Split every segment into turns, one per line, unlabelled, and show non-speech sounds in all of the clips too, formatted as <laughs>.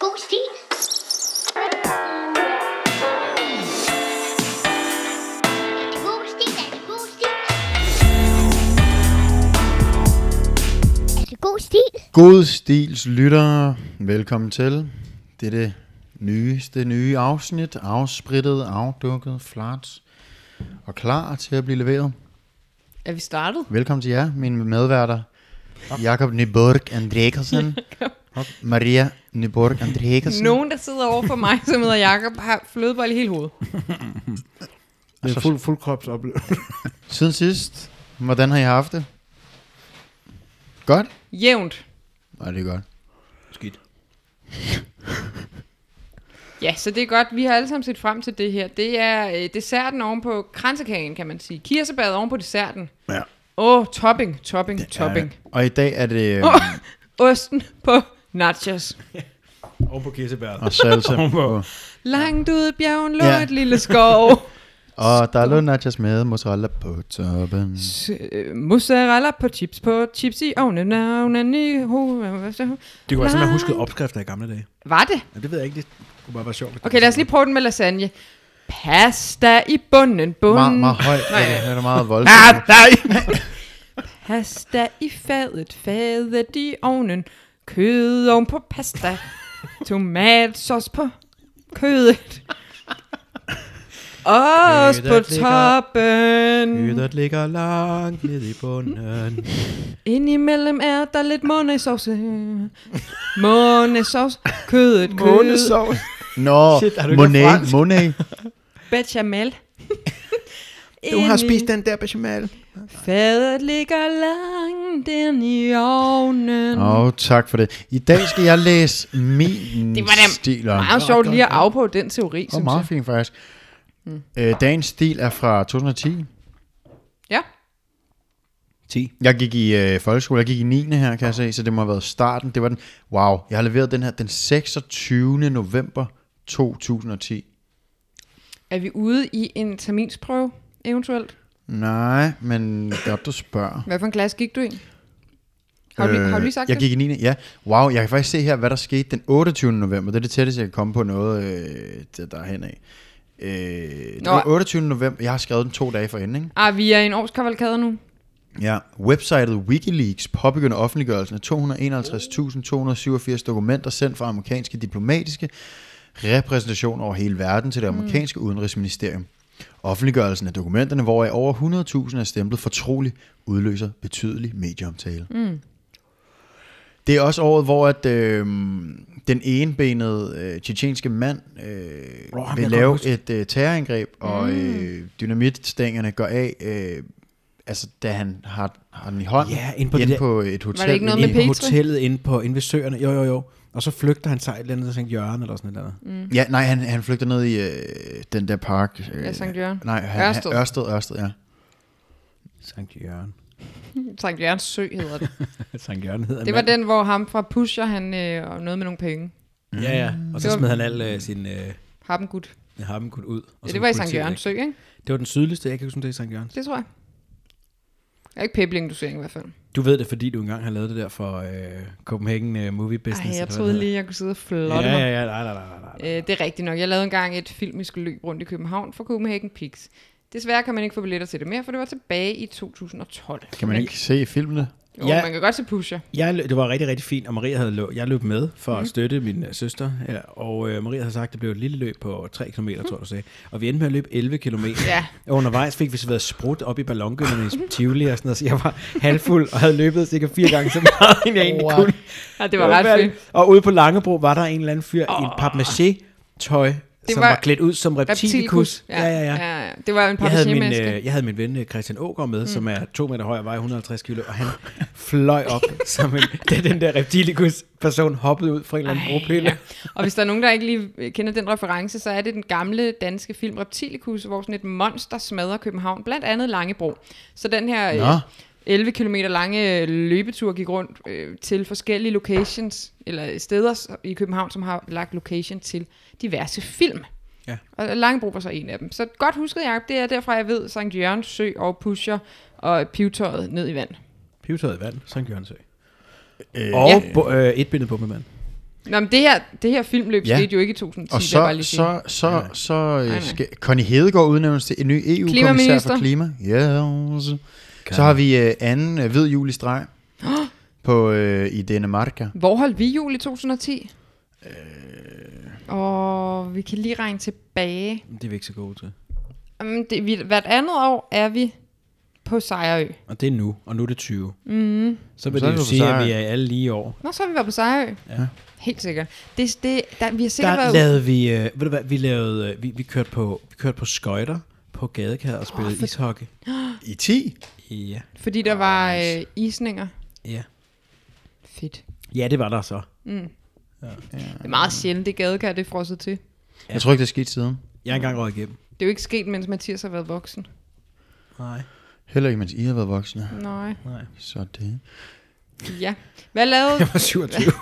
Boosty. God stil.
God stils lyttere, velkommen til. Det er det nyeste nye afsnit, afsprittet, afdukket, flat og klar til at blive leveret.
Er vi startet?
Velkommen til jer, mine medværter. Jakob Nyborg Andriksen
<laughs>
og Maria Nyborg Andriksen.
Nogen, der sidder over for mig, som hedder Jakob, har flødebold i hele hovedet.
Det er en fuld, <laughs> fuldkropsoplevelse.
Siden sidst, hvordan har I haft det? Godt?
Jævnt.
Nej, det er godt.
Skidt.
Ja, så det er godt. Vi har alle sammen set frem til det her. Det er øh, desserten oven på kransekagen, kan man sige. Kirsebæret oven på desserten.
Ja.
Åh, oh, topping, topping, topping.
Og i dag er det... øh,
Åh, <laughs> oh, osten på nachos.
Oven på kirsebæret.
Og salsa.
Ovenpå.
Langt ude i bjergen lå
Ja.
ja. et lille skov. <laughs>
og der lå nachos med mozzarella på toppen.
S- øh, Mozzarella på chips på chips i ovnen. ovnen i hovedet.
Det kunne være sådan, man
Nej.
huskede opskrifter i gamle dage.
Var det?
Ja, det ved jeg ikke, det kunne bare være sjovt. hvis det
Okay,
var
lad os
sådan
lige prøve den med lasagne. Pasta i bunden,
Meget,
bunden.
meget højt.
Nej.
Nej. Det er meget voldsomt.
Pasta i fadet, fadet i ovnen. Kød oven på
<laughs>
pasta. Tomatsauce på kødet.
<laughs>
Ost på
Kødet ligger-
toppen.
Ydet ligger langt ned i bunden.
Indimellem er der lidt månesauce. Månesauce. Kødet, kødet.
Månesovs.
Nå,
Shit, har du ikke hørt
Monet,
fransk?
Monet.
Bechamel.
Du har
Ind i-
spist den der bechamel.
Fadet ligger langt ind i ovnen.
Åh, oh, tak for det. I dag skal jeg læse min
Det var da
stil op.
Meget sjovt lige at afprøve den teori,
Det var
synes
meget
jeg.
fint faktisk.
Mm.
Øh, dagens stil er fra 2010.
Ja.
10.
Jeg gik i øh, folkeskole, jeg gik i 9. her, kan jeg se, så det må have været starten. Det var den, wow, jeg har leveret den her den 26. november 2010.
Er vi ude i en terminsprøve, eventuelt?
Nej, men godt du spørger.
Hvad for en klasse gik du i? Har du, øh, har du lige sagt
jeg
det?
gik i 9. Ja, wow, jeg kan faktisk se her, hvad der skete den 28. november. Det er det tætteste, jeg kan komme på noget, øh, det- der er henad. Øh, det
Nå.
var 28. november. Jeg har skrevet den to dage for enden, ikke?
Ah, vi er i en årskavalkade nu.
Ja. Websitet Wikileaks påbegynder offentliggørelsen af 251.287 dokumenter sendt fra amerikanske diplomatiske repræsentationer over hele verden til det amerikanske mm. udenrigsministerium. Offentliggørelsen af dokumenterne, hvoraf over 100.000 er stemplet fortrolig, udløser betydelig medieomtale. Mm. Det er også året, hvor at, øh, den enebenede øh, tjetjenske mand øh,
Åh, ham
oh,
kan
vil
jeg godt
lave
huske.
et øh, terrorangreb, mm. og øh, dynamitstængerne går af, øh, altså da han har, har den i hånden,
Ja, inde på det
inde
der-
på et hotel.
ikke noget
inde
med
Inde på
Petri.
hotellet, inde på investørerne. Jo, jo, jo. Og så flygter han sig et eller andet til St. Jørgen eller sådan noget. Mm.
Ja, nej, han, han flygter ned i øh, den der park. Øh,
Ja, Sankt Jørgen.
Nej, han,
Ørsted.
Ørsted. Han, Ørsted, Ørsted, ja.
Mm.
St. <laughs> Jørgen.
Sankt Jørgens Sø hedder
<laughs>
det.
St. Jørgen hedder
Det var den, hvor ham fra Pusher, han øh, og noget med nogle penge.
den. Ja, ja. Og så
Det var-
smed han al øh, sin øh,
Har dem gut.
harmgud ud. Og
Ja,
så
det var i
politiet,
Sankt Jørgens
ikke?
Sø, ikke?
Det var den sydligste, jeg kan huske, om det er i St. Jørgen.
Det tror jeg. Jeg er ikke pebling, du ser i hvert fald.
Du ved det, fordi du engang har lavet det der for øh, Copenhagen øh, Movie Business.
Ej, jeg
eller hvad
troede
det
lige, jeg kunne sidde og
hedder.
flotte mig.
Ja, ja, ja. Nej, nej, nej, nej.
Øh, det er rigtigt nok. Jeg lavede engang et filmisk løb rundt i København for Copenhagen Pigs. Desværre kan man ikke få billetter til det mere, for det var tilbage i 2012.
Kan man
Men-
ikke se filmene?
Jo, ja.
Ja.
man kan godt se Pusher.
Jeg, lø- det var rigtig, rigtig fint, og Maria havde løb, jeg løb med for
Mhm.
mm. at støtte min øh, søster, ja, og øh, Maria havde sagt, at det blev et lille løb på 3 km, tror jeg, du sagde. Og vi endte med at løbe 11 km.
Ja.
Og undervejs fik vi så været sprudt op i ballongønnerne i Tivoli og sådan noget, så jeg var halvfuld og havde løbet cirka fire gange så meget, end jeg egentlig
Wow.
kunne.
Ja, det var ret fedt.
Og ude på Langebro var der en eller anden fyr oh. i en papmaché tøj som var,
var
var klædt ud som reptilikus.
Ja, ja, ja. ja. Det var en
Jeg havde, min,
papagemaske.
øh, jeg havde min ven øh, Christian Ågaard med, mm. som er to meter høj og vejer 150 kilo, og han fløj op, <laughs> som en, da den der reptilikus-person hoppede ud fra en eller anden bropille.
ja. Og hvis der er nogen, der ikke lige øh, kender den reference, så er det den gamle danske film Reptilicus, hvor sådan et monster smadrer København, blandt andet Langebro. Så den her
Nå.
øh, 11 km lange øh, løbetur gik rundt øh, til forskellige locations, eller steder i København, som har lagt location til diverse film.
Ja.
Og Langebro var så en af dem. Så godt husket, Jacob, det er derfra, jeg ved, Sankt Jørgens Sø og Pusher og Pivtøjet ned i vand.
Pivetøjet i vand, Sankt Jørgensø.
Øh,
Og ja. bo, øh, et bindet på med mand.
Nå, men det her, det her filmløb
Ja.
ja. skete jo ikke i 2010,
Og
vil jeg bare
så,
lige sige.
så, så, så,
nej.
øh, skal, Connie Hedegaard udnævnes til en ny EU-kommissær for
Klimaminister.
klima. Ja, så- så har vi øh, anden øh, hvid jul i streg på, øh, i Danimarka.
Hvor holdt vi jul i 2010? Øh... Og vi kan lige regne tilbage.
Det er vi ikke så gode til.
Jamen, det, vi, hvert andet år er vi på Sejrø.
Og det er nu, og nu er det 20. Mm. Så vil
Så er det
det jo
jo
sige,
sejr.
at vi er i alle lige år.
Nå, så har vi været på Sejrø.
Ja.
Helt sikkert. Det, det, der, vi har sikkert
Der
været...
lavede vi, øh, ved du hvad, vi lavede, øh, vi, vi, kørte på, vi kørte på skøjter på gadekær og spillede oh, ishockey.
I 10?
Ja,
Fordi der var øh, isninger.
ja.
Fedt.
Ja, det var der så.
Det er meget sjældent, det gadekær, det er frosset til.
Jeg tror ikke, det er sket siden.
Jeg er engang røget igennem.
Det er jo ikke sket, mens Mathias har været voksen.
Nej,
Heller ikke, mens I har været voksne.
Nej.
nej.
Så det.
Ja. Hvad
<laughs>
lavede...
Jeg var 27.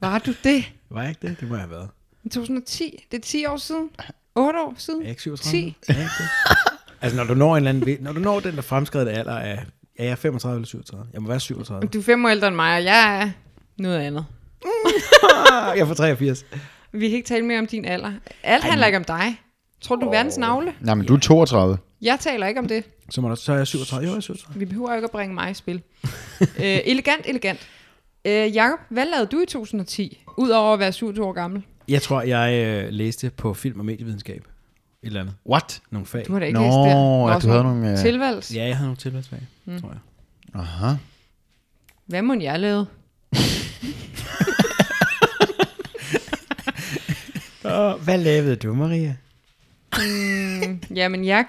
Var du det?
var jeg ikke det? Det må jeg have været.
I 2010? Det er 10 år siden? 8 år siden?
Er jeg ikke 37?
10?
Er jeg ikke det? altså, når du når, en eller anden, vi- når du når den der fremskredte alder af, er jeg 35 eller 37? Jeg må være
<laughs>
37.
Du er fem år ældre end mig, og jeg er noget andet.
Ah, jeg får 83.
Vi kan ikke tale mere om din alder. Alt handler ikke om dig. Tror du, du er verdens navle?
Nej, men du er 32.
Jeg taler ikke om det.
Så, må der, så er jeg 37. Jo, jeg er 37.
Vi behøver ikke at bringe mig i
<laughs>
spil. øh, elegant, elegant. Øh, Jakob, hvad lavede du i 2010? Udover at være 27 år gammel.
Jeg tror, jeg øh, læste på film- og medievidenskab. Et eller andet.
What?
Nogle fag.
Du har da ikke
Nå,
læst det.
at du
sådan
havde nogle, øh,
Tilvalgs.
Ja, jeg havde nogle tilvalgsfag, mm. tror jeg.
Aha.
Hvad må jeg lave?
Og hvad lavede du, Maria?
Jamen, jeg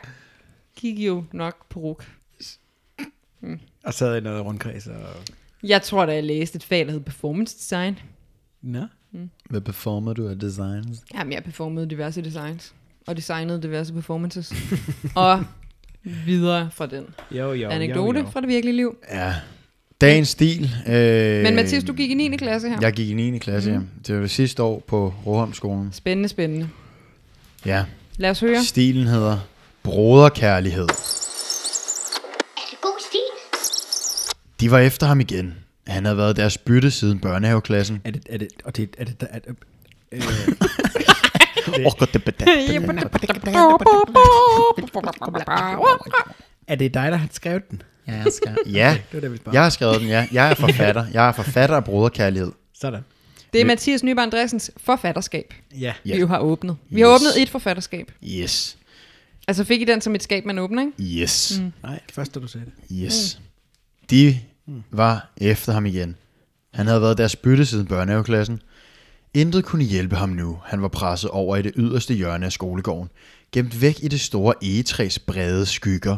gik jo nok på ruk.
Og sad i noget rundkreds og...
Jeg tror da, jeg læste et fag, der hed performance design.
Nå.
Hvad performer du af designs?
Jamen, jeg performede diverse designs. Og designede
<laughs>
diverse performances. og videre fra den.
Jo, jo,
Anekdote fra det virkelige liv.
Ja. Dagens stil. Øh,
Men Mathias, du gik i 9. klasse her.
Jeg gik i 9. klasse, mm. ja. Det var sidste år på Råholmskolen.
Spændende, spændende.
Ja.
Lad os høre.
Stilen hedder Broderkærlighed.
Er det god stil?
De var efter ham igen. Han havde været deres bytte siden børnehaveklassen.
Er det, er det, og det, er det, øh, er det,
Åh, godt, det bedat.
er det dig, der har skrevet den?
Ja, jeg skal.
Ja,
Det var det, vi spørger.
jeg har skrevet den, ja. Jeg er forfatter. Jeg er forfatter af Broderkærlighed.
Sådan.
Det er Mathias Nyberg Andresens forfatterskab,
Ja.
vi
Ja.
jo har åbnet. Vi har
Yes.
åbnet et forfatterskab.
Yes.
Altså fik I den som et skab, man åbner, ikke?
Yes. Mm.
Nej, først da du sagde det.
Yes. De var efter ham igen. Han havde været deres bytte siden børnehaveklassen. Intet kunne hjælpe ham nu. Han var presset over i det yderste hjørne af skolegården. Gemt væk i det store egetræs brede skygger.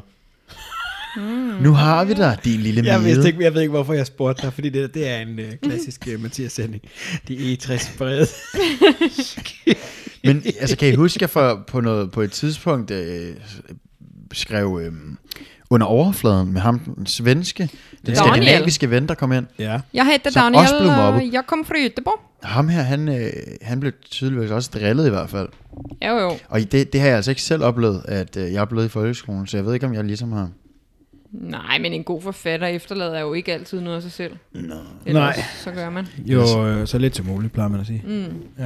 Mm. Nu har vi dig, din lille
Jeg, vidste
mide.
ikke, jeg ved ikke, hvorfor jeg spurgte dig, fordi det, det er en øh, klassisk øh, Mathias-sætning. De E60 brede.
Men altså, kan I huske, at jeg for, på, noget, på et tidspunkt øh, skrev øh, under overfladen med ham, den svenske, den
Daniel.
skandinaviske ven, der kom ind.
<laughs> ja.
Jeg hedder
Som
Daniel,
også blev mobbet.
og jeg kommer fra Göteborg.
Ham her, han, øh, han blev tydeligvis også drillet i hvert fald.
Ja, jo, jo.
Og i det, det har jeg altså ikke selv oplevet, at øh, jeg er blevet i folkeskolen, så jeg ved ikke, om jeg ligesom har...
Nej, men en god forfatter efterlader jo ikke altid noget af sig selv.
No.
Ellers,
Nej.
så gør man.
Jo, øh, så lidt som muligt, plejer man at sige. Mm.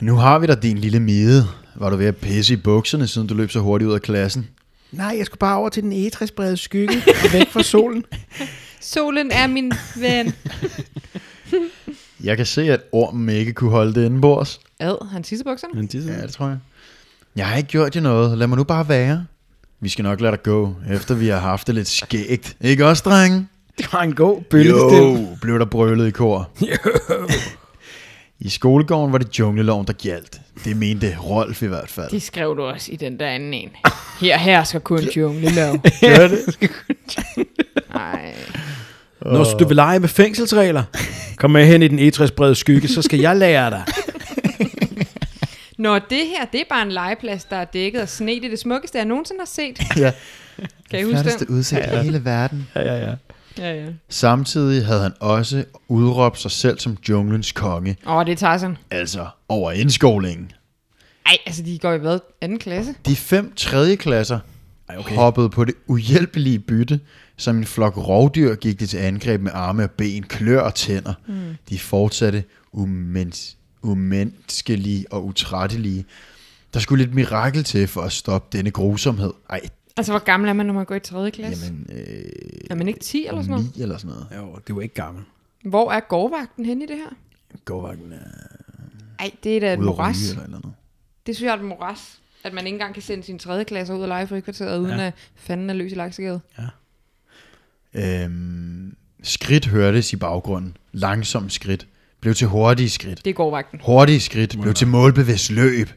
Nu har vi dig, din lille mide. Var du ved at pisse i bukserne, siden du løb så hurtigt ud af klassen?
Nej, jeg skulle bare over til den E60 brede skygge, væk fra solen.
Solen er min ven.
Jeg kan se, at ormen ikke kunne holde det indenbords.
Ad, han tisser bukserne.
<laughs> Men det
Ja, det tror jeg. Jeg har ikke gjort jer noget. Lad mig nu bare være. Vi skal nok lade dig gå, efter vi har haft det lidt skægt. Ikke også, drenge?
det var en god <laughs> bølgestil.
Jo, blev der brølet i <laughs> kor. I skolegården var det jungleloven, der gjaldt. Det mente Rolf i hvert fald.
Det skrev du også i den der anden en. Her hersker
<laughs>
kun junglelov.
Gør det?
Nej.
Når du vil lege med fængselsregler, kom med hen i den E60 brede skygge, så skal jeg lære dig.
Nå, det her, det er bare en legeplads, der er dækket af sne. Det er det smukkeste, jeg nogensinde har set.
<laughs> Ja.
Kan I huske den?
udsigt i hele verden.
Ja, ja, ja.
Ja, ja.
Samtidig havde han også udråbt sig selv som junglens konge,
Åh, oh, det er Tarzan.
altså over indskolingen.
Ej, altså de går i hvad? Anden klasse?
De fem tredje klasser
Ej,
okay. hoppede på det uhjælpelige bytte, som en flok rovdyr gik det til angreb med arme og ben, klør og tænder. Mm. De fortsatte umens, umenneskelige og utrættelige. Der skulle lidt mirakel til for at stoppe denne grusomhed. Ej,
Altså, hvor gammel er man, når man går i 3. klasse? Jamen,
jamen, øh,
er man ikke 10 eller sådan noget?
9 eller sådan noget.
<laughs> Jo, det var ikke gammel.
Hvor er gårdvagten henne i det her?
Gårdvagten er...
Ej, det er da et
Ude at ryge
moras.
eller et eller andet.
Det synes jeg er et moras, at man ikke engang kan sende sine 3. klasser ud og lege i frikvarteret, uden ja. at fanden er løs i laksegade.
Øhm, skridt hørtes i baggrunden. Langsomme skridt. Blev til hurtige skridt.
Det er gårdvagten.
Hurtige skridt blev til målbevidst løb.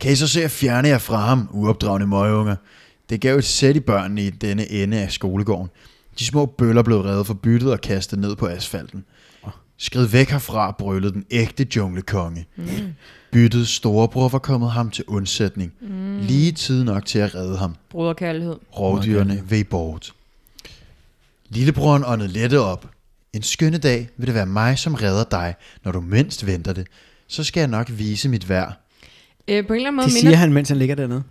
Kan I så se at fjerne jer fra ham, uopdragende møgeunger? Det gav et sæt i børnene i denne ende af skolegården. De små bøller blev reddet for byttet og kastet ned på asfalten. Skrid væk herfra, brølede den ægte junglekonge. Mm. Byttet storebror var kommet ham til undsætning. Mm. Lige tid nok til at redde ham.
Broderkærlighed.
Rovdyrene ved bort. Lillebroren åndede lette op. En skønne dag vil det være mig, som redder dig, når du mindst venter det. Så skal jeg nok vise mit værd.
Øh, på en eller anden måde
Det
minder...
siger han, mens han ligger dernede.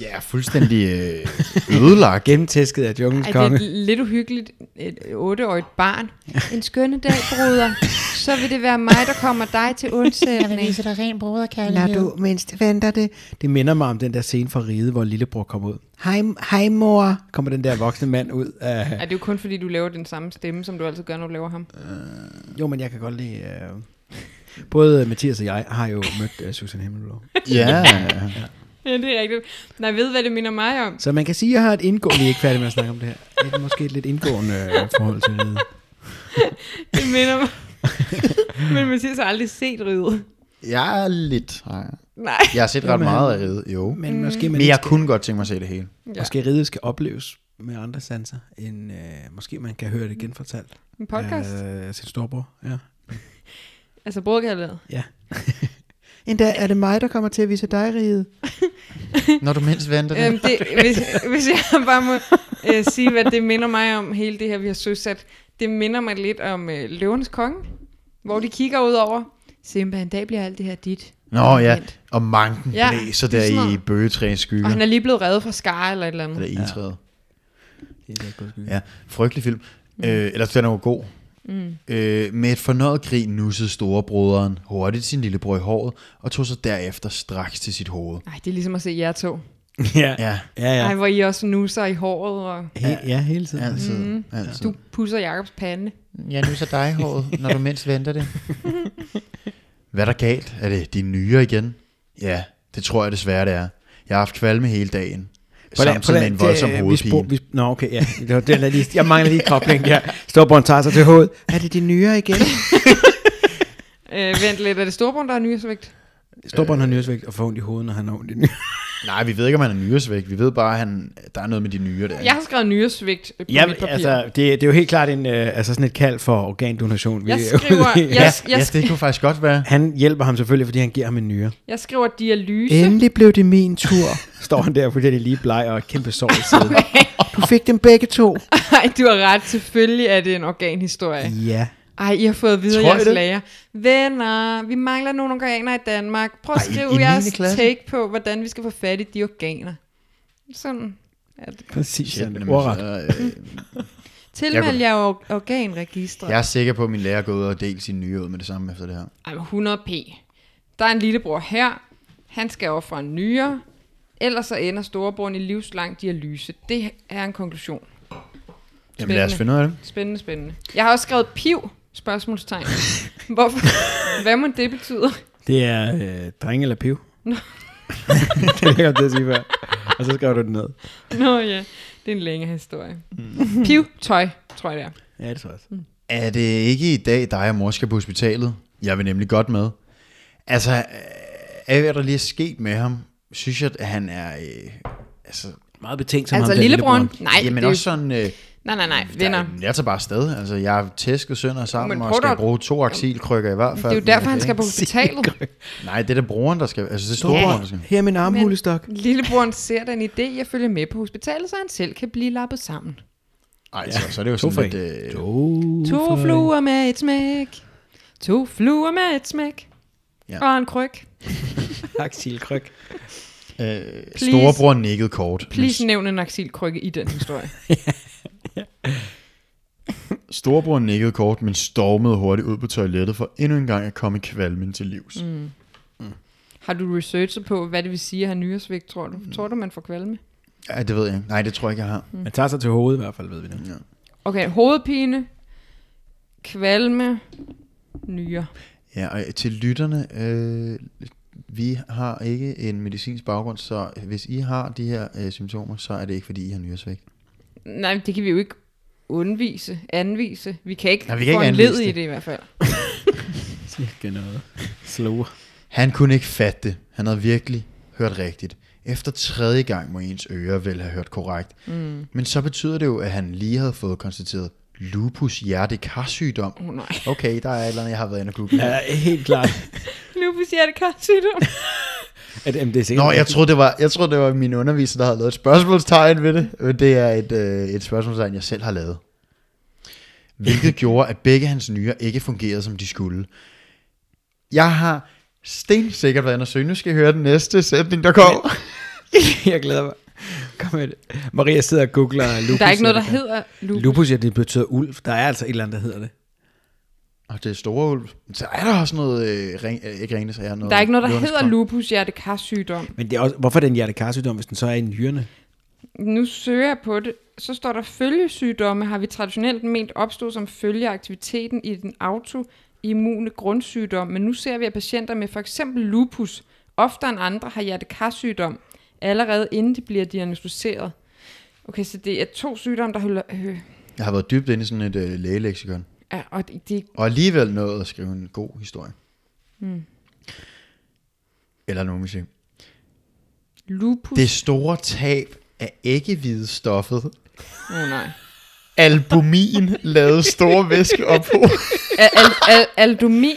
Ja, fuldstændig øh, <laughs> ødelagt.
Gennemtæsket af junglens
Ej,
konge.
det er lidt uhyggeligt. Et otteårigt barn. En skønne dag, broder. Så vil det være mig, der kommer dig til undsætning.
dig ren
Når
broderkærlighed.
du mindst venter det. Det minder mig om den der scene fra Ride, hvor lillebror kommer ud. Hej, hej mor, kommer den der voksne mand ud af...
Ej, det er jo kun fordi, du laver den samme stemme, som du altid gør, når du laver ham.
Jo, men jeg kan godt lide... Øh... Både Mathias og jeg har jo mødt øh, Susan Himmelblom.
Ja,
Ja, det er rigtigt. Nej, ved hvad det minder mig om?
Så man kan sige, at jeg har et indgående... Vi er ikke færdige med at snakke om det her. Et, måske et lidt indgående øh, forhold til Ride.
Det minder <laughs> mig... Men Mathias har aldrig set ride.
jeg er lidt. Nej.
Nej.
Jeg har set ret
Jamen,
meget af ride, jo.
Men måske man
Men
ikke
jeg
skal,
kunne godt tænke mig at se det hele.
Mm. Ja.
måske Ride skal opleves med andre sanser, end øh, måske man kan høre det genfortalt.
En podcast. Øh.
Øh, sin storbror, ja.
Altså broderkærlighed.
Ja. <laughs> Endda er det mig, der kommer til at vise dig riget.
Når du mindst venter det.
Øhm, <laughs> det, hvis, hvis jeg bare må øh, sige, hvad det minder mig om, hele det her, vi har søsat, det minder mig lidt om øh, Løvens Konge, hvor de kigger ud over, Simba, en dag bliver alt det her dit.
Nå ja, og manken
Ja,
blæser
det er sådan
der i
noget.
bøgetræens skygge.
Og han er lige blevet reddet fra Scar eller et eller andet.
Eller egetræet.
Det er ikke godt
Ja, frygtelig film. Mm. Øh, ellers den er jo god. Mm. Øh, med et fornøjet grin nussede storebroderen hurtigt sin lillebror i håret, og tog sig derefter straks til sit hoved.
Ej, det er ligesom at se jer to.
ja.
Ja,
ja, ja.
Ej, hvor I også nusser i håret, og
He- ja, hele tiden. Ja.
altid. Mm. altid.
du pusser Jakobs pande.
Jeg nusser dig i håret, når du mindst venter det. <laughs> Hvad er der galt? Er det dine nyere igen? Ja, det tror jeg desværre, det er. Jeg har haft kvalme hele dagen. Samtidig med en voldsom
Vi spor,
hovedpine.
vi, nå, okay, ja. Det var den, der lige, jeg mangler lige kobling. Ja. Storbånd tager sig til hovedet. Er det de nyere igen?
Øh, vent lidt, er det Storbrun, der er nyhedsvægt?
Storbånd har nyhedsvægt og får ondt i hovedet, når han har ondt i nyere.
Nej, vi ved ikke, om han er nyresvæk. Vi ved bare, at han, der er noget med de nyere der.
Jeg har skrevet nyhedsvægt på
Ja,
mit papir.
altså, det, det, er jo helt klart en, øh, altså sådan et kald for organdonation. vi
Jeg
er ude
skriver-
i.
ja,
jeg-
ja, det kunne faktisk godt være.
Han hjælper ham selvfølgelig, fordi han giver ham en nyere.
Jeg skriver dialyse. <laughs>
Endelig blev det min tur. Står han der, fordi det lige bleg og et kæmpe sår i siden. Du fik dem begge to.
Nej, du har ret. Selvfølgelig er det en organhistorie.
Ja.
Ej, I har fået videre
Tror I
jeres
det?
lager. Venner, vi mangler nogle organer i Danmark. Prøv at
Ej, i-
skrive
i niende
jeres
klasse?
take på, hvordan vi skal få fat i de organer. Sådan. er det.
Præcis,
Shit,
Shit,
men
ordret.
så, øh,
Tilmeld
kunne-
jer or-
<laughs>
organregistret.
Jeg er sikker på, at min lærer går ud og deler sin nye ud med det samme efter det her.
Ej, men 100p. Der er en lillebror her. Han skal over fra en nyere. Ellers så ender storebroren i livslang dialyse. Det er en konklusion.
Jamen lad os finde ud af det.
Spændende, spændende. Jeg har også skrevet piv, spørgsmålstegn. Hvorfor? Hvad må det betyde?
Det er øh, drenge eller piv. <laughs> det er jeg godt til at sige før. Og så skriver du det ned.
Nå ja, det er en længere historie. Mm. Piv, tøj, tror jeg det er.
Ja, det tror jeg også.
Er det ikke i dag, dig og mor skal på hospitalet? Jeg vil nemlig godt med. Altså, øh, af hvad der lige er sket med ham, synes jeg, at han er... Øh, altså,
Meget betænkt som
Altså lillebroren?
<laughs>
Nej,
jamen
det er
også
jo,
sådan... Øh,
nej, nej, nej, venner.
der, jeg tager bare afsted. Altså, jeg har tæsket sønder sammen
Men
og
prøv
skal
dog-
bruge to axilkrykker i hvert
Det
fald.
er jo derfor, han skal på hospitalet.
Nej, det er da broren, der skal... Altså, det er storebroren, der skal...
Her er min armhulestok.
Lillebroren ser den idé, jeg følger med på hospitalet, så han selv kan blive lappet sammen.
Nej, så, så er det jo
To for
sådan lidt... Øh,
To fluer med et smæk. To fluer med et smæk.
Ja.
Og en kryg.
Aksilkryg.
Øh, storebror nikkede kort.
Please nævn en aksilkrykke i den historie.
Storebror nikkede kort, men stormede hurtigt ud på toilettet for endnu en gang at komme kvalmen til livs. Mm.
Har du researchet på, hvad det vil sige at have nyresvigt, tror du?
Mm.
Tror du, man får kvalme?
Ja, det ved jeg ikke. Nej, det tror jeg ikke, jeg har. Mm.
Man tager sig til hovedet i hvert fald, ved vi nu. Ja.
Okay, hovedpine, kvalme, nyre.
Ja, og til lytterne, øh, vi har ikke en medicinsk baggrund, så hvis I har de her øh, symptomer, så er det ikke, fordi I har nyresvigt.
Nej, det kan vi jo ikke undvise, anvise. Vi kan ikke,
Nej, vi kan ikke
foranledige
anvise det.
det i hvert fald.
Sikke noget. Slow.
Han kunne ikke fatte det. Han havde virkelig hørt rigtigt. Efter tredje gang må ens ører vel have hørt korrekt. Mm. Men så betyder det jo, at han lige havde fået konstateret lupus hjertekarsygdom.
Oh, nej.
Okay, der er et eller andet, jeg har været inde og google. Ja.
Ja, helt klart.
Lupus hjertekarsygdom.
At, jamen, det er sikkert
Nå, jeg troede, det var, jeg troede, det var min underviser, der havde lavet et spørgsmålstegn ved det. Men det er et, øh, et spørgsmålstegn, jeg selv har lavet. <laughs> Hvilket gjorde, at begge hans nyrer ikke fungerede, som de skulle. Jeg har stensikkert været inde og søge. Nu skal I høre den næste sætning, der kommer.
<laughs> jeg glæder mig. Kom med det. Maria sidder og googler lupus.
Der er ikke noget, der hedder lupus.
Lupus, ja, det betyder ulv. Der er altså et eller andet, der hedder det.
Og det er store ulv. Så er der også noget, øh, ring, øh, ikke ringe, så er noget.
Der er ikke noget, der
Løvernes
hedder
Konge.
lupus hjertekarsygdom.
Men det er også, hvorfor er det en hjertekarsygdom, hvis den så er i nyrene?
Nu søger jeg på det. Så står der, følgesygdomme har vi traditionelt ment opstod som følge af aktiviteten i den autoimmune grundsygdom, men nu ser vi, at patienter med for eksempel lupus oftere end andre har hjertekarsygdom, allerede inden de bliver diagnostiseret. Okay, så det er to sygdomme, der holder... Øh,
Jeg har været dybt inde i sådan et øh, lægeleksikon.
ja, og det, det,
Og alligevel nået at skrive en god historie. Hmm. Eller nogen vil sige.
lupus...
Det store tab af æggevidestoffet.
Åh, oh, nej.
Albumin lavede store væskeophobning.
Al, al, al, aldomin?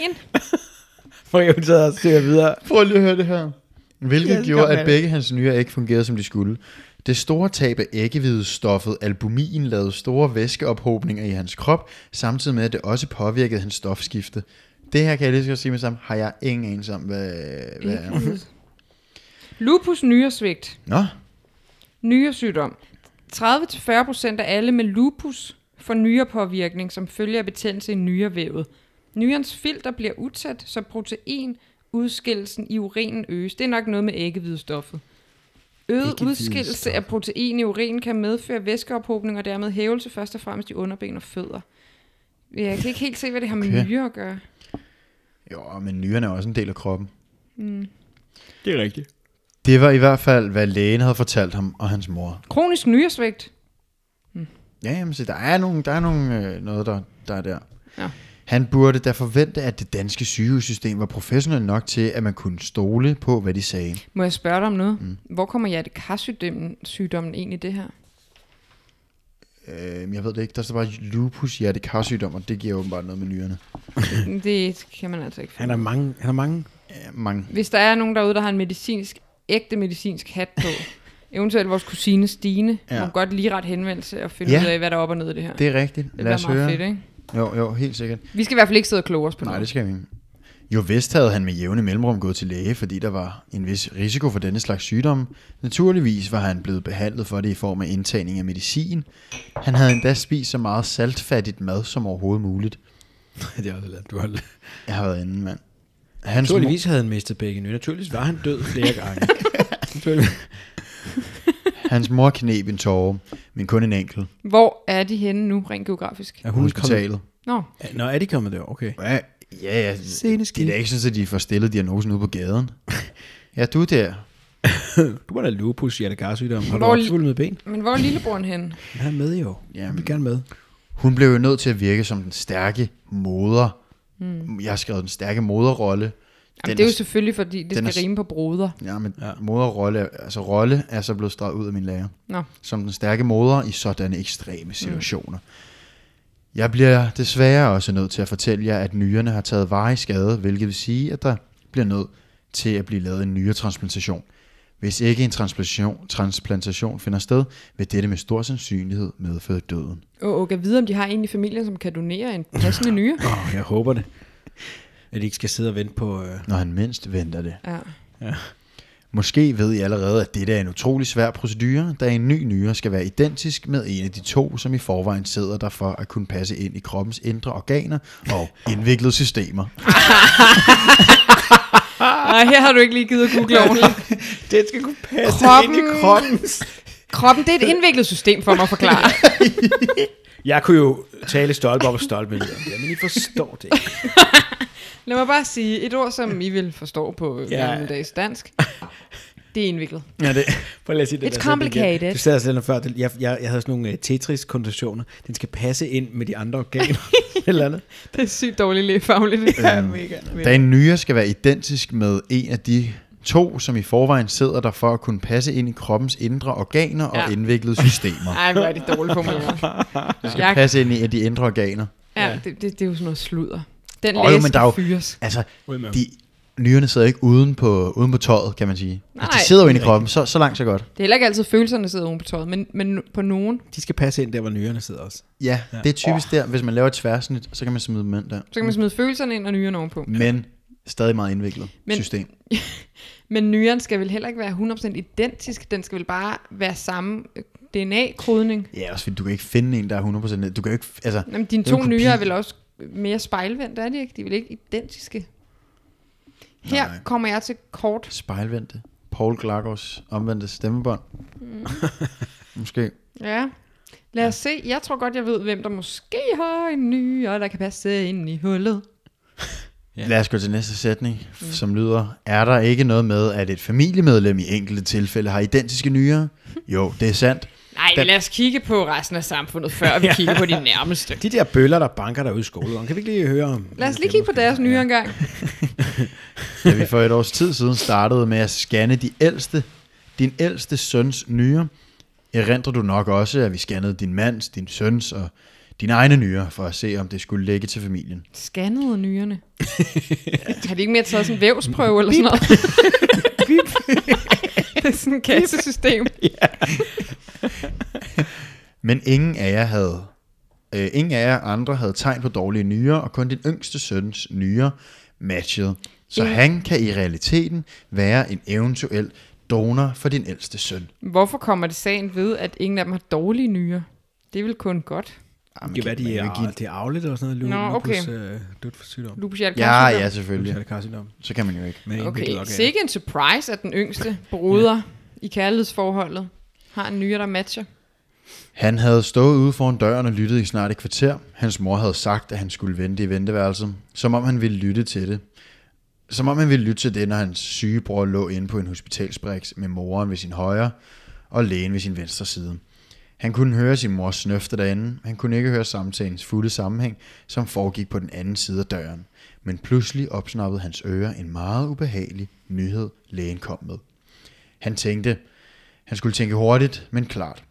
Maria, hun sidder og søger videre.
Prøv lige at høre det her. Hvilket
Ja, så kom
gjorde,
med
at begge hans nyrer ikke fungerede, som de skulle. Det store tab af æggevidestoffet albumin lavede store væskeophobninger i hans krop, samtidig med, at det også påvirkede hans stofskifte. Det her kan jeg lige så godt sige med sammen, har jeg ingen anelse om, hvad, hvad er.
Lupus nyresvigt.
Nå,
Nyresygdom. 30-40% af alle med lupus får nyrepåvirkning, som følger af betændelse i nyrevævet. Nyrens filter bliver utæt, så protein udskillelsen i urinen øges. Det er nok noget med æggevidestoffet. Øget udskillelse af protein i urinen kan medføre væskeophobning og dermed hævelse først og fremmest i underben og fødder. Jeg kan ikke helt se, hvad det har med
Okay.
nyre at gøre.
jo, men nyrerne er også en del af kroppen.
Det er rigtigt.
Det var i hvert fald, hvad lægen havde fortalt ham og hans mor.
Kronisk nyresvigt.
Ja, jamen, så der er, nogle, der er nogle, øh, noget, der, der er der.
Ja.
Han burde da forvente, at det danske sygehussystem var professionelt nok til, at man kunne stole på, hvad de sagde.
Må jeg spørge dig om noget? Mm. Hvor kommer hjertekarsygdommen sygdommen egentlig i det her?
Øh, jeg ved det ikke. Der står bare lupus hjertekarsygdom, og det giver åbenbart noget med nyrerne.
Det kan man altså ikke finde.
Han har mange, han har mange
Ja, mange.
Hvis der er nogen derude, der har en medicinsk, ægte medicinsk hat på, <laughs> eventuelt vores kusine Stine, ja.
Ja.
må godt lige ret henvendelse og finde
Ja.
ja. ud af, hvad der er op og ned i det her.
Det er rigtigt.
det
Lad os høre.
fedt, ikke?
Jo, jo, helt sikkert.
Vi skal i hvert fald ikke sidde og kloge os på
Nej,
noget.
det skal vi ikke. Jo vist havde han med jævne mellemrum gået til læge, fordi der var en vis risiko for denne slags sygdomme. Naturligvis var han blevet behandlet for det i form af indtagning af medicin. Han havde endda spist så meget saltfattigt mad som overhovedet muligt.
<laughs> det er også lidt, du har
Jeg har været inde, mand. Hans mor-
Naturligvis havde han mistet begge nu. Naturligvis var han død flere gange. <laughs> Naturligvis.
Hans mor kneb en tårer, men kun en enkelt.
Hvor er de henne nu, rent geografisk?
Er
På
hun kommet?
hospitalet.
Nå,
Nå, er de kommet der? Okay.
Ja, ja, ja. Det er da ikke sådan, at de får stillet diagnosen ude på
<laughs>
gaden. ja, du der.
Du var da lupus, hjertekarsygdom. Har du
Hvor-
opsvulmet ben?
men hvor er lillebroren henne?
Han er med jo. Jamen. Vi
Jamen.
vil gerne med.
Hun blev jo nødt til at virke som den stærke moder. Mm. Jeg har skrevet den stærke moderrolle.
Jamen, det er jo
er-
selvfølgelig, fordi det
den er
skal
s-
rime på broder.
Ja, men ja. moderrolle, er- altså rolle er så blevet streget ud af min lærer.
Nå,
Som den stærke moder i sådanne ekstreme situationer. Mm. Jeg bliver desværre også nødt til at fortælle jer, at nyrerne har taget varig skade, hvilket vil sige, at der bliver nødt til at blive lavet en nyretransplantation. Hvis ikke en transplantation, transplantation finder sted, vil dette med stor sandsynlighed medføre døden.
og og kan vide, om de har en i familien, som kan donere en passende nyre.
Åh, oh, jeg håber det. At de ikke skal sidde og vente på... Øh...
Når han mindst venter det.
Ja.
Måske ved I allerede, at dette er en utrolig svær procedure, da en ny nyre skal være identisk med en af de to, som i forvejen sidder der for at kunne passe ind i kroppens indre organer og indviklede systemer.
<laughs> Nej, her har du ikke lige givet at google ordentligt.
Den skal kunne passe
Kroppen.
ind i kroppens.
Kroppen, det er et indviklet system for mig at forklare.
Jeg kunne jo tale stolpe op og stolpe ned. Jamen, I forstår det ikke.
Lad mig bare sige et ord, som I vil forstå på
Ja.
ja. dags
<laughs>
dansk. Det er indviklet.
Ja, det. Prøv lige at sige det
It's
der sætning igen.
complicated.
Du sagde selv noget før, det- jeg, jeg, jeg havde sådan nogle øh, Tetris-konditioner. Den skal passe ind med de andre <laughs> organer. eller andet.
Det er sygt dårligt lægefagligt. <laughs> Ja, mega.
Øhm, Da en nyre skal være identisk med en af de to, som i forvejen sidder der for at kunne passe ind i kroppens indre organer og
Ja.
indviklede
<laughs>
systemer.
Ej, hvor er det dårligt
<laughs>
på mig. Jeg,
Passe ind i de indre organer.
ja, det, det, det, er jo sådan noget sludder. Den
Åh,
oh,
jo,
læge
men
skal
der er jo-
fyres.
Altså,
Ud med
de, nyrerne sidder ikke uden på, uden på tøjet, kan man sige. Altså,
Nej.
de sidder jo inde i kroppen, så, så langt så godt.
Det er heller ikke altid følelserne, der sidder oven på tøjet, men, men på nogen,
De skal passe ind der, hvor nyrerne sidder også.
Ja, det er typisk der, hvis man laver et tværsnit, så kan man smide dem ind der.
så kan man smide følelserne ind og nyren ovenpå.
Men stadig meget indviklet
Men-
system.
Men nyren skal vel heller ikke være 100% identisk, den skal vel bare være samme øh, DNA-kodning.
Ja, også fordi du kan ikke finde en, der er 100% ned. Du kan jo ikke, altså,
Jamen, dine
Det er jo
to
en kopi.
nyrer er vel også mere spejlvendt, er de ikke? De er vel ikke identiske? Her
Nej.
Nej. kommer jeg til kort.
spejlvendte. Paul Glagos omvendte stemmebånd. Mm. <laughs> Måske.
Ja. Lad os se. Jeg tror godt, jeg ved, hvem der måske har en nyre, der kan passe ind i hullet.
Ja. Lad os gå til næste sætning, mm. som lyder, er der ikke noget med, at et familiemedlem i enkelte tilfælde har identiske
<laughs>
nyrer? Jo, det er sandt.
Nej,
Den-
lad os kigge på resten af samfundet,
<laughs>
før vi kigger på de nærmeste.
De der bøller, der banker derude i skolegården, kan vi ikke lige høre om?
Lad os lige kigge på deres nyre engang.
Da vi for et års tid siden startede med at scanne de ældste, din ældste søns nyre, erindrer du nok også, at vi scannede din mands, din søns og dine egne nyre, for at se, om det skulle ligge til familien. <laughs>
Scannede nyrerne. Har de ikke mere taget sådan en vævsprøve eller sådan noget?
<laughs>
<laughs> det er sådan et kassesystem.
Men ingen af jer havde øh, ingen af jer andre havde tegn på dårlige nyrer, og kun din yngste søns nyrer matchede. Så
Ingen-
han kan i realiteten være en eventuel donor for din ældste søn.
Hvorfor kommer det sagen ved, at ingen af dem har dårlige nyrer? Det er vel kun godt.
Jamen,
Det kan være, de
man
er,
vil give-
det er afligt eller sådan noget.
Nå,
Lu-
okay.
Lupus, øh, dødt for sygdom.
Lupus Jalkan.
Ja, ja, selvfølgelig.
Lupus karsygdom.
Så kan man jo ikke.
Okay, sikke en surprise, at den yngste broder i kærlighedsforholdet har en nyere, der matcher.
Han havde stået ude foran døren og lyttet i snart et kvarter. Hans mor havde sagt, at han skulle vente i venteværelset, som om han ville lytte til det. Som om han ville lytte til det, når hans syge bror lå inde på en hospitalsbriks med moren ved sin højre og lægen ved sin venstre side. Han kunne høre sin mors snøfte derinde. Han kunne ikke høre samtalens fulde sammenhæng, som foregik på den anden side af døren. Men pludselig opsnappede hans ører en meget ubehagelig nyhed, lægen kom med. Han tænkte, han skulle tænke hurtigt, men klart.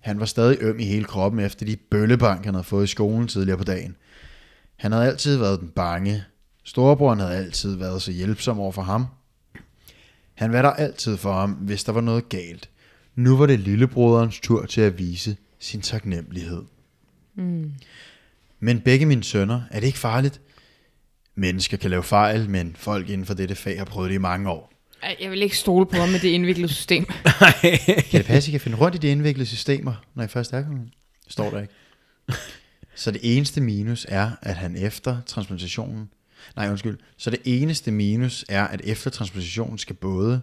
Han var stadig øm i hele kroppen efter de bøllebank, han havde fået i skolen tidligere på dagen. Han havde altid været den bange. Storebroren havde altid været så hjælpsom over for ham. Han var der altid for ham, hvis der var noget galt. Nu var det lillebroderens tur til at vise sin taknemmelighed. Mm. Men begge mine sønner, er det ikke farligt? Mennesker kan lave fejl, men folk inden for dette fag har prøvet det i mange år.
Ej, Jeg vil ikke stole på ham med det indviklede system.
Kan det passe, I kan finde rundt i de indviklede systemer, når I først er kommet? Står der ikke. Så det eneste minus er, at han efter transplantationen... Nej, undskyld. Så det eneste minus er, at efter transplantationen skal både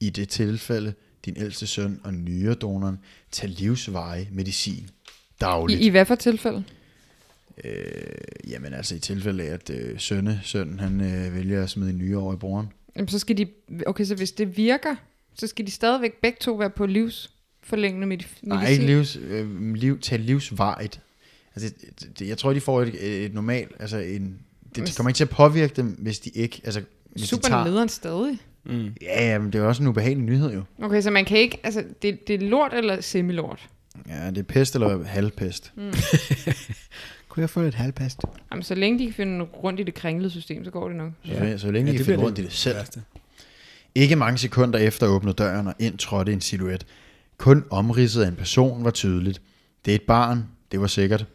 i det tilfælde din ældste søn og nyredonoren tage livsveje medicin dagligt.
I, I hvad for tilfælde?
Øh, jamen altså i tilfælde af, at øh, sønne, sønnen, han øh, vælger at smide en nyre over i broren.
Jamen, så skal de, okay, så hvis det virker, så skal de stadigvæk begge to være på livsforlængende medif- medicin.
Nej, ikke livs, øh, liv, tage livsvaret. Altså, det, det, jeg tror, de får et, et normalt, altså en, det, det kommer ikke til at påvirke dem, hvis de ikke, altså, hvis
Super
de tager,
nederen stadig.
Ja, ja, men det er jo også en ubehagelig nyhed jo.
Okay, så man kan ikke, altså, det, det er lort eller semilort.
Ja, det er pest eller halvpest. Mm.
Kunne jeg få et halvpast?
Jamen, så længe de kan finde rundt i det kringlede system, så går det nok.
Så, så længe ja, de kan finde rundt i det selv.
værste.
Ikke mange sekunder efter åbnede døren, og ind trådte en silhuet. Kun omridset af en person var tydeligt. Det er et barn, det var sikkert.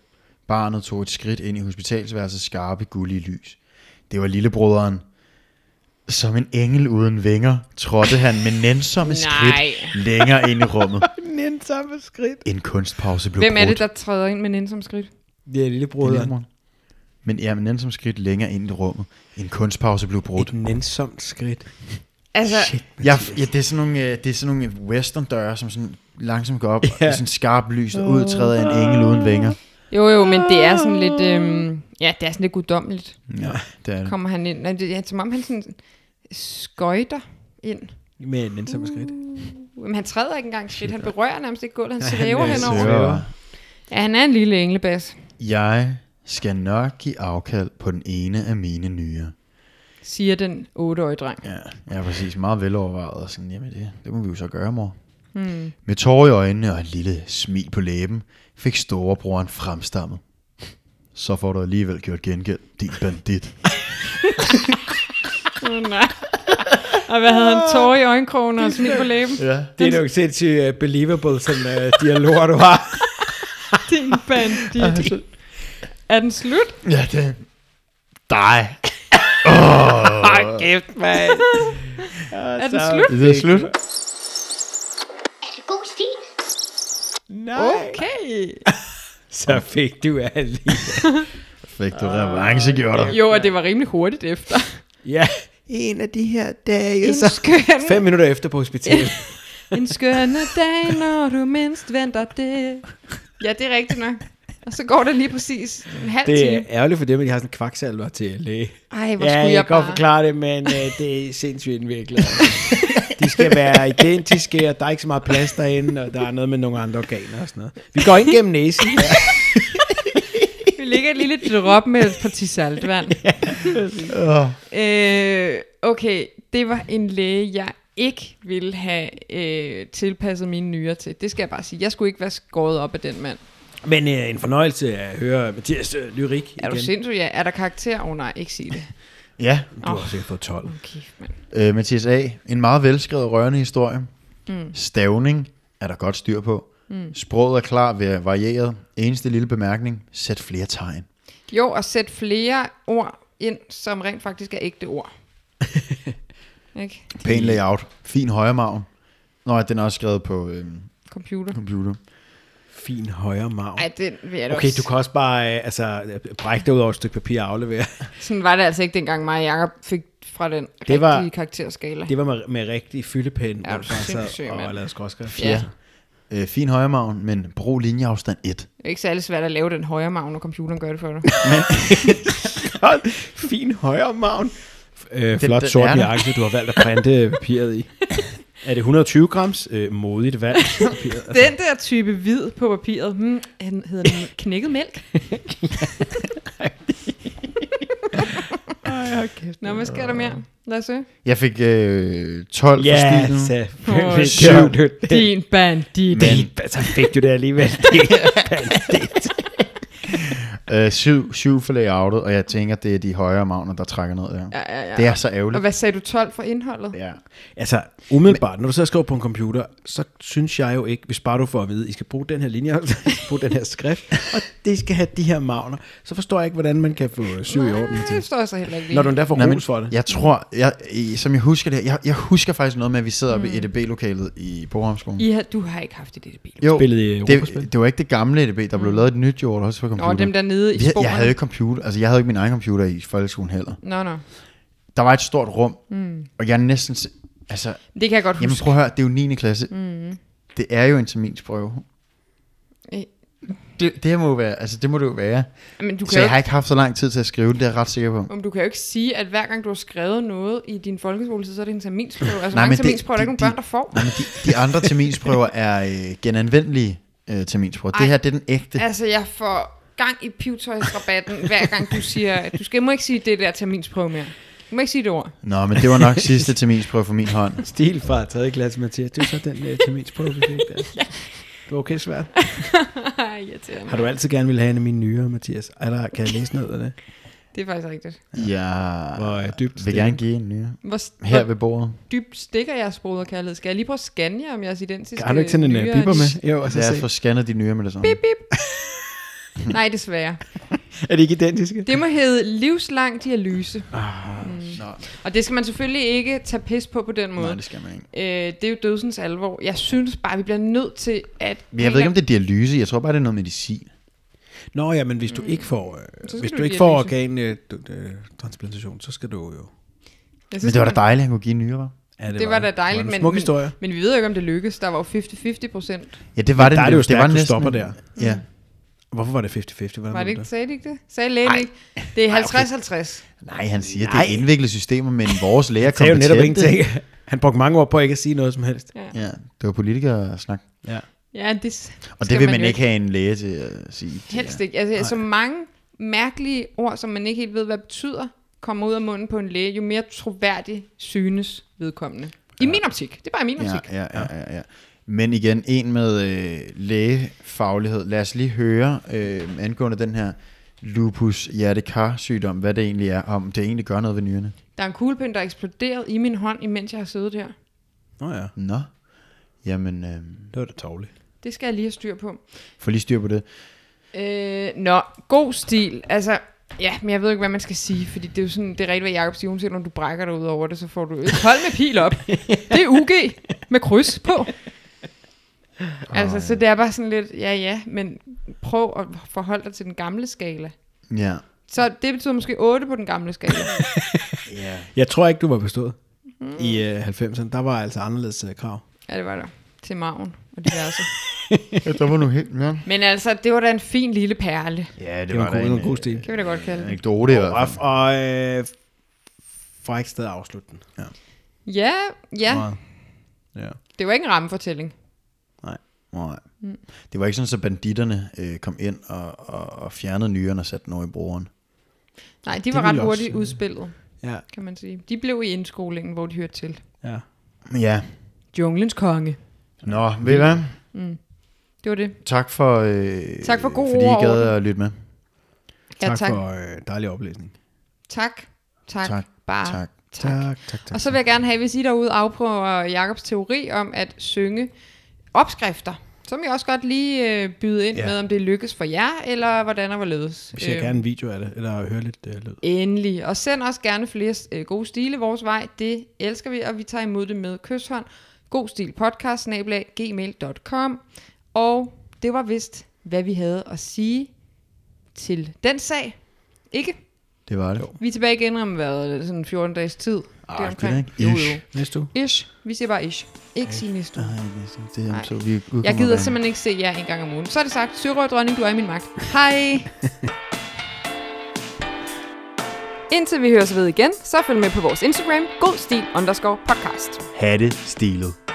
Barnet tog et skridt ind i hospitalsværelsets skarpe, gullige lys. Det var lillebroderen. Som en engel uden vinger trådte han med nænsomme skridt længere ind i rummet.
Nænsomme skridt.
En kunstpause blev
Hvem er det,
brudt.
der træder ind med nænsom skridt?
Det er lillebrøderen.
der... Men ja, med nænsomme skridt længere ind i rummet. En kunstpause blev brudt.
Et nænsomt skridt.
Altså,
Shit.
Jeg, ja, det er sådan nogle, øh, det er sådan nogle western døre, som sådan langsomt går op
Ja.
ja. i sådan skarp lys, og ud træder en engel uden vinger.
jo jo, men det er sådan lidt, øhm, ja, det er sådan lidt guddommeligt.
Ja, det er det.
kommer han ind. Nej, det er som om han sådan skøjter ind.
Med et nænsomt skridt.
Mm. Men han træder ikke engang skridt. Han berører nærmest ikke gulvet. Han
han,
svæver
øh,
henover.
svæver.
Så
Ja, han er en lille englebas,
jeg skal nok give afkald på den ene af mine nyere.
siger den otteårige dreng.
Ja, ja præcis. Meget velovervejet. Og sådan, jamen det, det må vi jo så gøre, mor. Hmm. Med tårer i øjnene og et lille smil på læben, fik storebroren fremstammet. Så får du alligevel gjort gengæld, din bandit.
Oh, nej. Og hvad havde han? Tårer i øjenkrogen og smil på læben.
Ja.
Det er jo ikke sindssygt uh, believable, sådan uh, dialoger, du har.
Din
<laughs>
bandit. Er den slut?
Ja, det... Dig.
<laughs> Hold kæft, mand.
<laughs> Er den slut?
Det er slut.
Er det god stil?
Nej.
Okay.
Så fik du alene.
Fik du revanche, gjorde du.
Jo, og det var rimelig hurtigt efter.
<laughs> Ja. En af de her dage.
En
Så.
skønne,
Fem minutter efter på hospitalet.
en skønne dag, når du mindst venter det. Ja, det er rigtigt nok. Og så går der lige præcis en halv
Det
time.
er ærgerligt for dem, at de har sådan en kvaksalver til læge.
Ej, hvor
ja,
skulle
jeg,
jeg,
kan
bare...
godt forklare det, men øh, det er sindssygt indviklet. De
<laughs>
skal være identiske, og der er ikke så meget plads derinde, og der er noget med nogle andre organer og sådan noget. Vi går ind gennem næsen. Ja.
Vi lægger et lille drop med et parti
<laughs>
saltvand. øh, okay, det var en læge, jeg ikke ville have øh, tilpasset mine nyrer til. Det skal jeg bare sige. Jeg skulle ikke være skåret op af den mand.
Men øh, en fornøjelse at høre Mathias øh, lyrik
Er du
igen.
sindssyg? Ja. Er der karakter? Åh oh, nej, ikke sig det.
Ja,
Du har sikkert fået 12.
Okay, mand.
øh, Mathias A. En meget velskrevet og rørende historie. Mm. Stavning er der godt styr på. Mm. Sproget er klar ved varieret. Eneste lille bemærkning, sæt flere tegn.
Jo, og sæt flere ord ind, som rent faktisk er ægte
<laughs>
ord. ikke?
Pæn layout. Fin højremagen. Nå, ja, den er også skrevet på øh,
Computer.
computer.
Fin højre marv.
Ej, den vil jeg da
Okay,
også-
du kan også bare øh, altså, øh, brække dig ud over et stykke papir og aflevere.
Sådan var det altså ikke dengang mig og Jacob fik fra den
Det var-
rigtige karakterskala.
Det var med, med rigtig fyldepen, Altså,
Er
hvor
du
du bare
sindssyg,
sad
mand.
og lavede skråskrift.
ja.
Øh, fin højremagen, men brug linjeafstand 1.
Det er ikke særlig svært at lave den højre magne, når computeren gør det for dig.
fin højre maven. Øh,
Den-
flot
den
sort
er der.
jakke, du har valgt at printe papiret i. Er det 120 grams? Øh, modigt <laughs> valg. Papiret.
den der type hvid på papiret, hmm, han hedder den knækket
<laughs>
mælk.
Ej, hold kæft.
Nå, hvad sker der mere? Lad os se.
Jeg fik øh, 12
Ja,
yeah, for stilen.
selvfølgelig.
Åh,
Gør
syv.
du det.
Din bandit.
Men så fik du det alligevel.
Øh, 7, 7 for layoutet, og jeg tænker, det er de højere magner, der trækker ned der.
Ja, ja, ja.
Det er så
Og
ærgerligt.
hvad sagde du 12 for indholdet?
Ja.
altså, umiddelbart, når du så skriver på en computer, så synes jeg jo ikke, hvis bare du får at vide, I skal bruge den her linje, <laughs> I skal bruge den her skrift, og det skal have de her magner, så forstår jeg ikke, hvordan man kan få øh, syv i orden
Det
til.
forstår jeg så heller ikke lige.
Når du endda får
Nej, men
ros for det.
Jeg tror, jeg, i- som jeg husker det, jeg, jeg husker faktisk noget med, at vi sidder oppe i EDB-lokalet i Borhamskolen.
Mm. I har, du har ikke haft det i bil.
Jo,
Spillede i Europaspil.
det, det var ikke det gamle EDB, der blev lavet et nyt jord også på computer.
Og Mm. dem dernede i
jeg,
sporene.
jeg havde jo ikke computer, altså jeg havde ikke min egen computer i folkeskolen heller.
Nå, nå.
Der var et stort rum, mm. og jeg er næsten, si- altså,
Det kan jeg godt
jamen
huske.
prøv at høre, det er jo 9. klasse. Mm. Det er jo en terminsprøve.
Øh.
Det, det må jo være, altså det må det jo være.
Men du kan
Så
jo
jeg har
ikke,
ikke haft så lang tid til at skrive det, det er jeg ret sikker på.
om du kan jo ikke sige, at hver gang du har skrevet noget i din folkeskoletid, så er det en terminsprøve. Altså,
Nej,
Nej, mange
men det-
terminsprøver er der
det-
ikke nogen børn, der
det-
får.
Nej, men de, de andre terminsprøver er øh, genanvendelige øh, terminsprøver.
Ej.
Det her, det er den ægte.
Altså, jeg får gang i pivtøjsrabatten, hver gang du siger, at du skal, må ikke sige det der terminsprøve mere. Du må ikke sige det ord.
Nå, men det var nok sidste terminsprøve for min hånd.
Stil fra 3. klasse, Mathias. Det er så den uh, terminsprøve, vi fik
<laughs>
der. Det var okay svært.
Ej, irriterende.
Har du altid gerne ville have en af mine nyere, Mathias? Eller kan jeg læse noget af det?
Det er faktisk rigtigt.
Jeg
Hvor øh, dybt
vil gerne give en ny.
Hvor, st-
Her
hvor
ved bordet.
dybt stikker jeres broderkærlighed? Skal jeg lige prøve at scanne jer, om jeres identiske...
Har du ikke
øh,
sådan en uh,
nyere-
piber med? Jo, og så
Lad os
se.
få scannet de nye med det samme.
Bip, bip. Nej, desværre.
<laughs> Er de ikke identiske?
Det må hedde livslang dialyse.
Ah,
Nej,
Og det skal man selvfølgelig ikke tage pis på på den måde.
nej, det skal man ikke.
Øh, det er jo dødsens alvor. Jeg synes bare, vi bliver nødt til at...
Men jeg ved ikke, om det er dialyse. Jeg tror bare, det er noget medicin.
Nå ja, men hvis du ikke får, øh,
Mm. skal
hvis
du
du ikke
i
får øh,
dialyse.
organtransplantation, så skal du jo...
Jeg
Men
synes,
det var da dejligt, at han kunne give nyere, var?
Ja, det,
det var da
det
dejligt,
var en
men,
smuk historie.
men vi ved jo ikke, om det lykkedes. Der var jo 50-50 procent.
Ja, det var det.
der er det jo
var
stærkt, du
næsten
stopper
en-
der.
Mm.
Ja.
Hvorfor var det 50-50? Hvordan
Var det ikke,
det?
sagde de ikke det? Sagde lægen ikke? Det er 50-50.
Nej, han siger, at det er indviklede systemer, men vores læger
Det er jo
kompetente.
netop ingenting. <laughs> Han brugte mange år på ikke at sige noget som helst.
Ja, det var politikere snak.
Ja.
Ja, det s-
Og det
skal
vil man
jo
ikke have en læge til at sige.
Helst ikke. Altså, så mange mærkelige ord, som man ikke helt ved, hvad betyder, kommer ud af munden på en læge, jo mere troværdig synes vedkommende. I min optik. Det er bare i min
Ja,
optik.
ja, ja, ja, ja. Men igen, en med øh, lægefaglighed. Lad os lige høre øh, angående den her lupus hjertekar sygdom, hvad det egentlig er, om det egentlig gør noget ved nyrerne.
Der er en kuglepind, der er eksploderet i min hånd, imens jeg har siddet her.
Nå ja,
Nå, jamen, øh,
det var da tavligt.
Det skal jeg lige have styr på.
få lige styr på det.
Øh, nå, god stil. Altså, ja, men jeg ved ikke, hvad man skal sige, fordi det er jo sådan, det er rigtigt, hvad Jacob siger, uanset når du brækker dig ud over det, så får du et hold med pil
<laughs>
op. Det er UG med kryds på. Altså, så det er bare sådan lidt, ja ja, men prøv at forholde dig til den gamle skala.
Ja.
Så det betyder måske 8 på den gamle
<laughs>
skala.
Yeah.
Jeg tror ikke, du var bestået.
Mm.
I øh, 90'erne, der var altså anderledes øh, krav.
ja, det var der. Til maven og diverse.
Ja, der var nu helt, ja.
Men altså, det var da en fin lille perle.
Ja, det,
Det var,
var,
en,
da en,
god, det var
øh,
en god stil.
Kan vi da godt kalde det.
anekdote i hvert
Og,
fald.
og øh, fra ikke sted afslutte den. Ja.
Ja, ja.
Meget. ja.
Det var ikke en rammefortælling.
Nej.
Mm.
Det var ikke sådan, så banditterne øh, kom ind og, og, og fjernede nyren og satte den over i brugeren.
Nej, de var
ville
ret
jeg også
hurtigt udspillet.
Ja,
kan man sige. De blev i indskolingen, hvor de hørte til.
ja.
Ja.
Junglens konge.
Nå, ved I hvad?
Det var det.
Tak for, øh,
Tak for god
fordi
ord
I
og
gad
orden.
at lytte med.
Ja,
Tak,
tak.
for øh, dejlig oplæsning.
Tak. Tak.
Tak.
Bare.
Tak.
tak.
tak, tak.
Og så vil jeg gerne have, hvis I derude afprøver Jakobs teori om at synge opskrifter. Så må I også godt lige øh, byde ind
Ja.
ja. med, om det lykkes for jer, eller hvordan og hvorledes.
Vi ser
Øh,
gerne en video af det, eller høre lidt øh, lyd.
Endelig. Og send også gerne flere øh, gode stile vores vej. Det elsker vi, og vi tager imod det med kysshånd. God stil podcast, snablag, gmail.com. Og det var vist, hvad vi havde at sige til den sag. Ikke?
Det var det.
Vi er tilbage igen om hvad, sådan 14 dages tid.
Ah, det er
Jo,
ikke.
jo.
Næste uge.
Ish. Vi siger bare ish. Ikke sige næste uge.
Nej, det er
Nej.
om så vi udkommer
Jeg gider
hver-
simpelthen ikke se jer en gang om ugen. Så er det sagt. Sørøv dronning, du er i min magt.
<laughs>
Hej! Indtil vi høres ved igen, så følg med på vores Instagram, godstil underscore podcast.
Hatte stilet.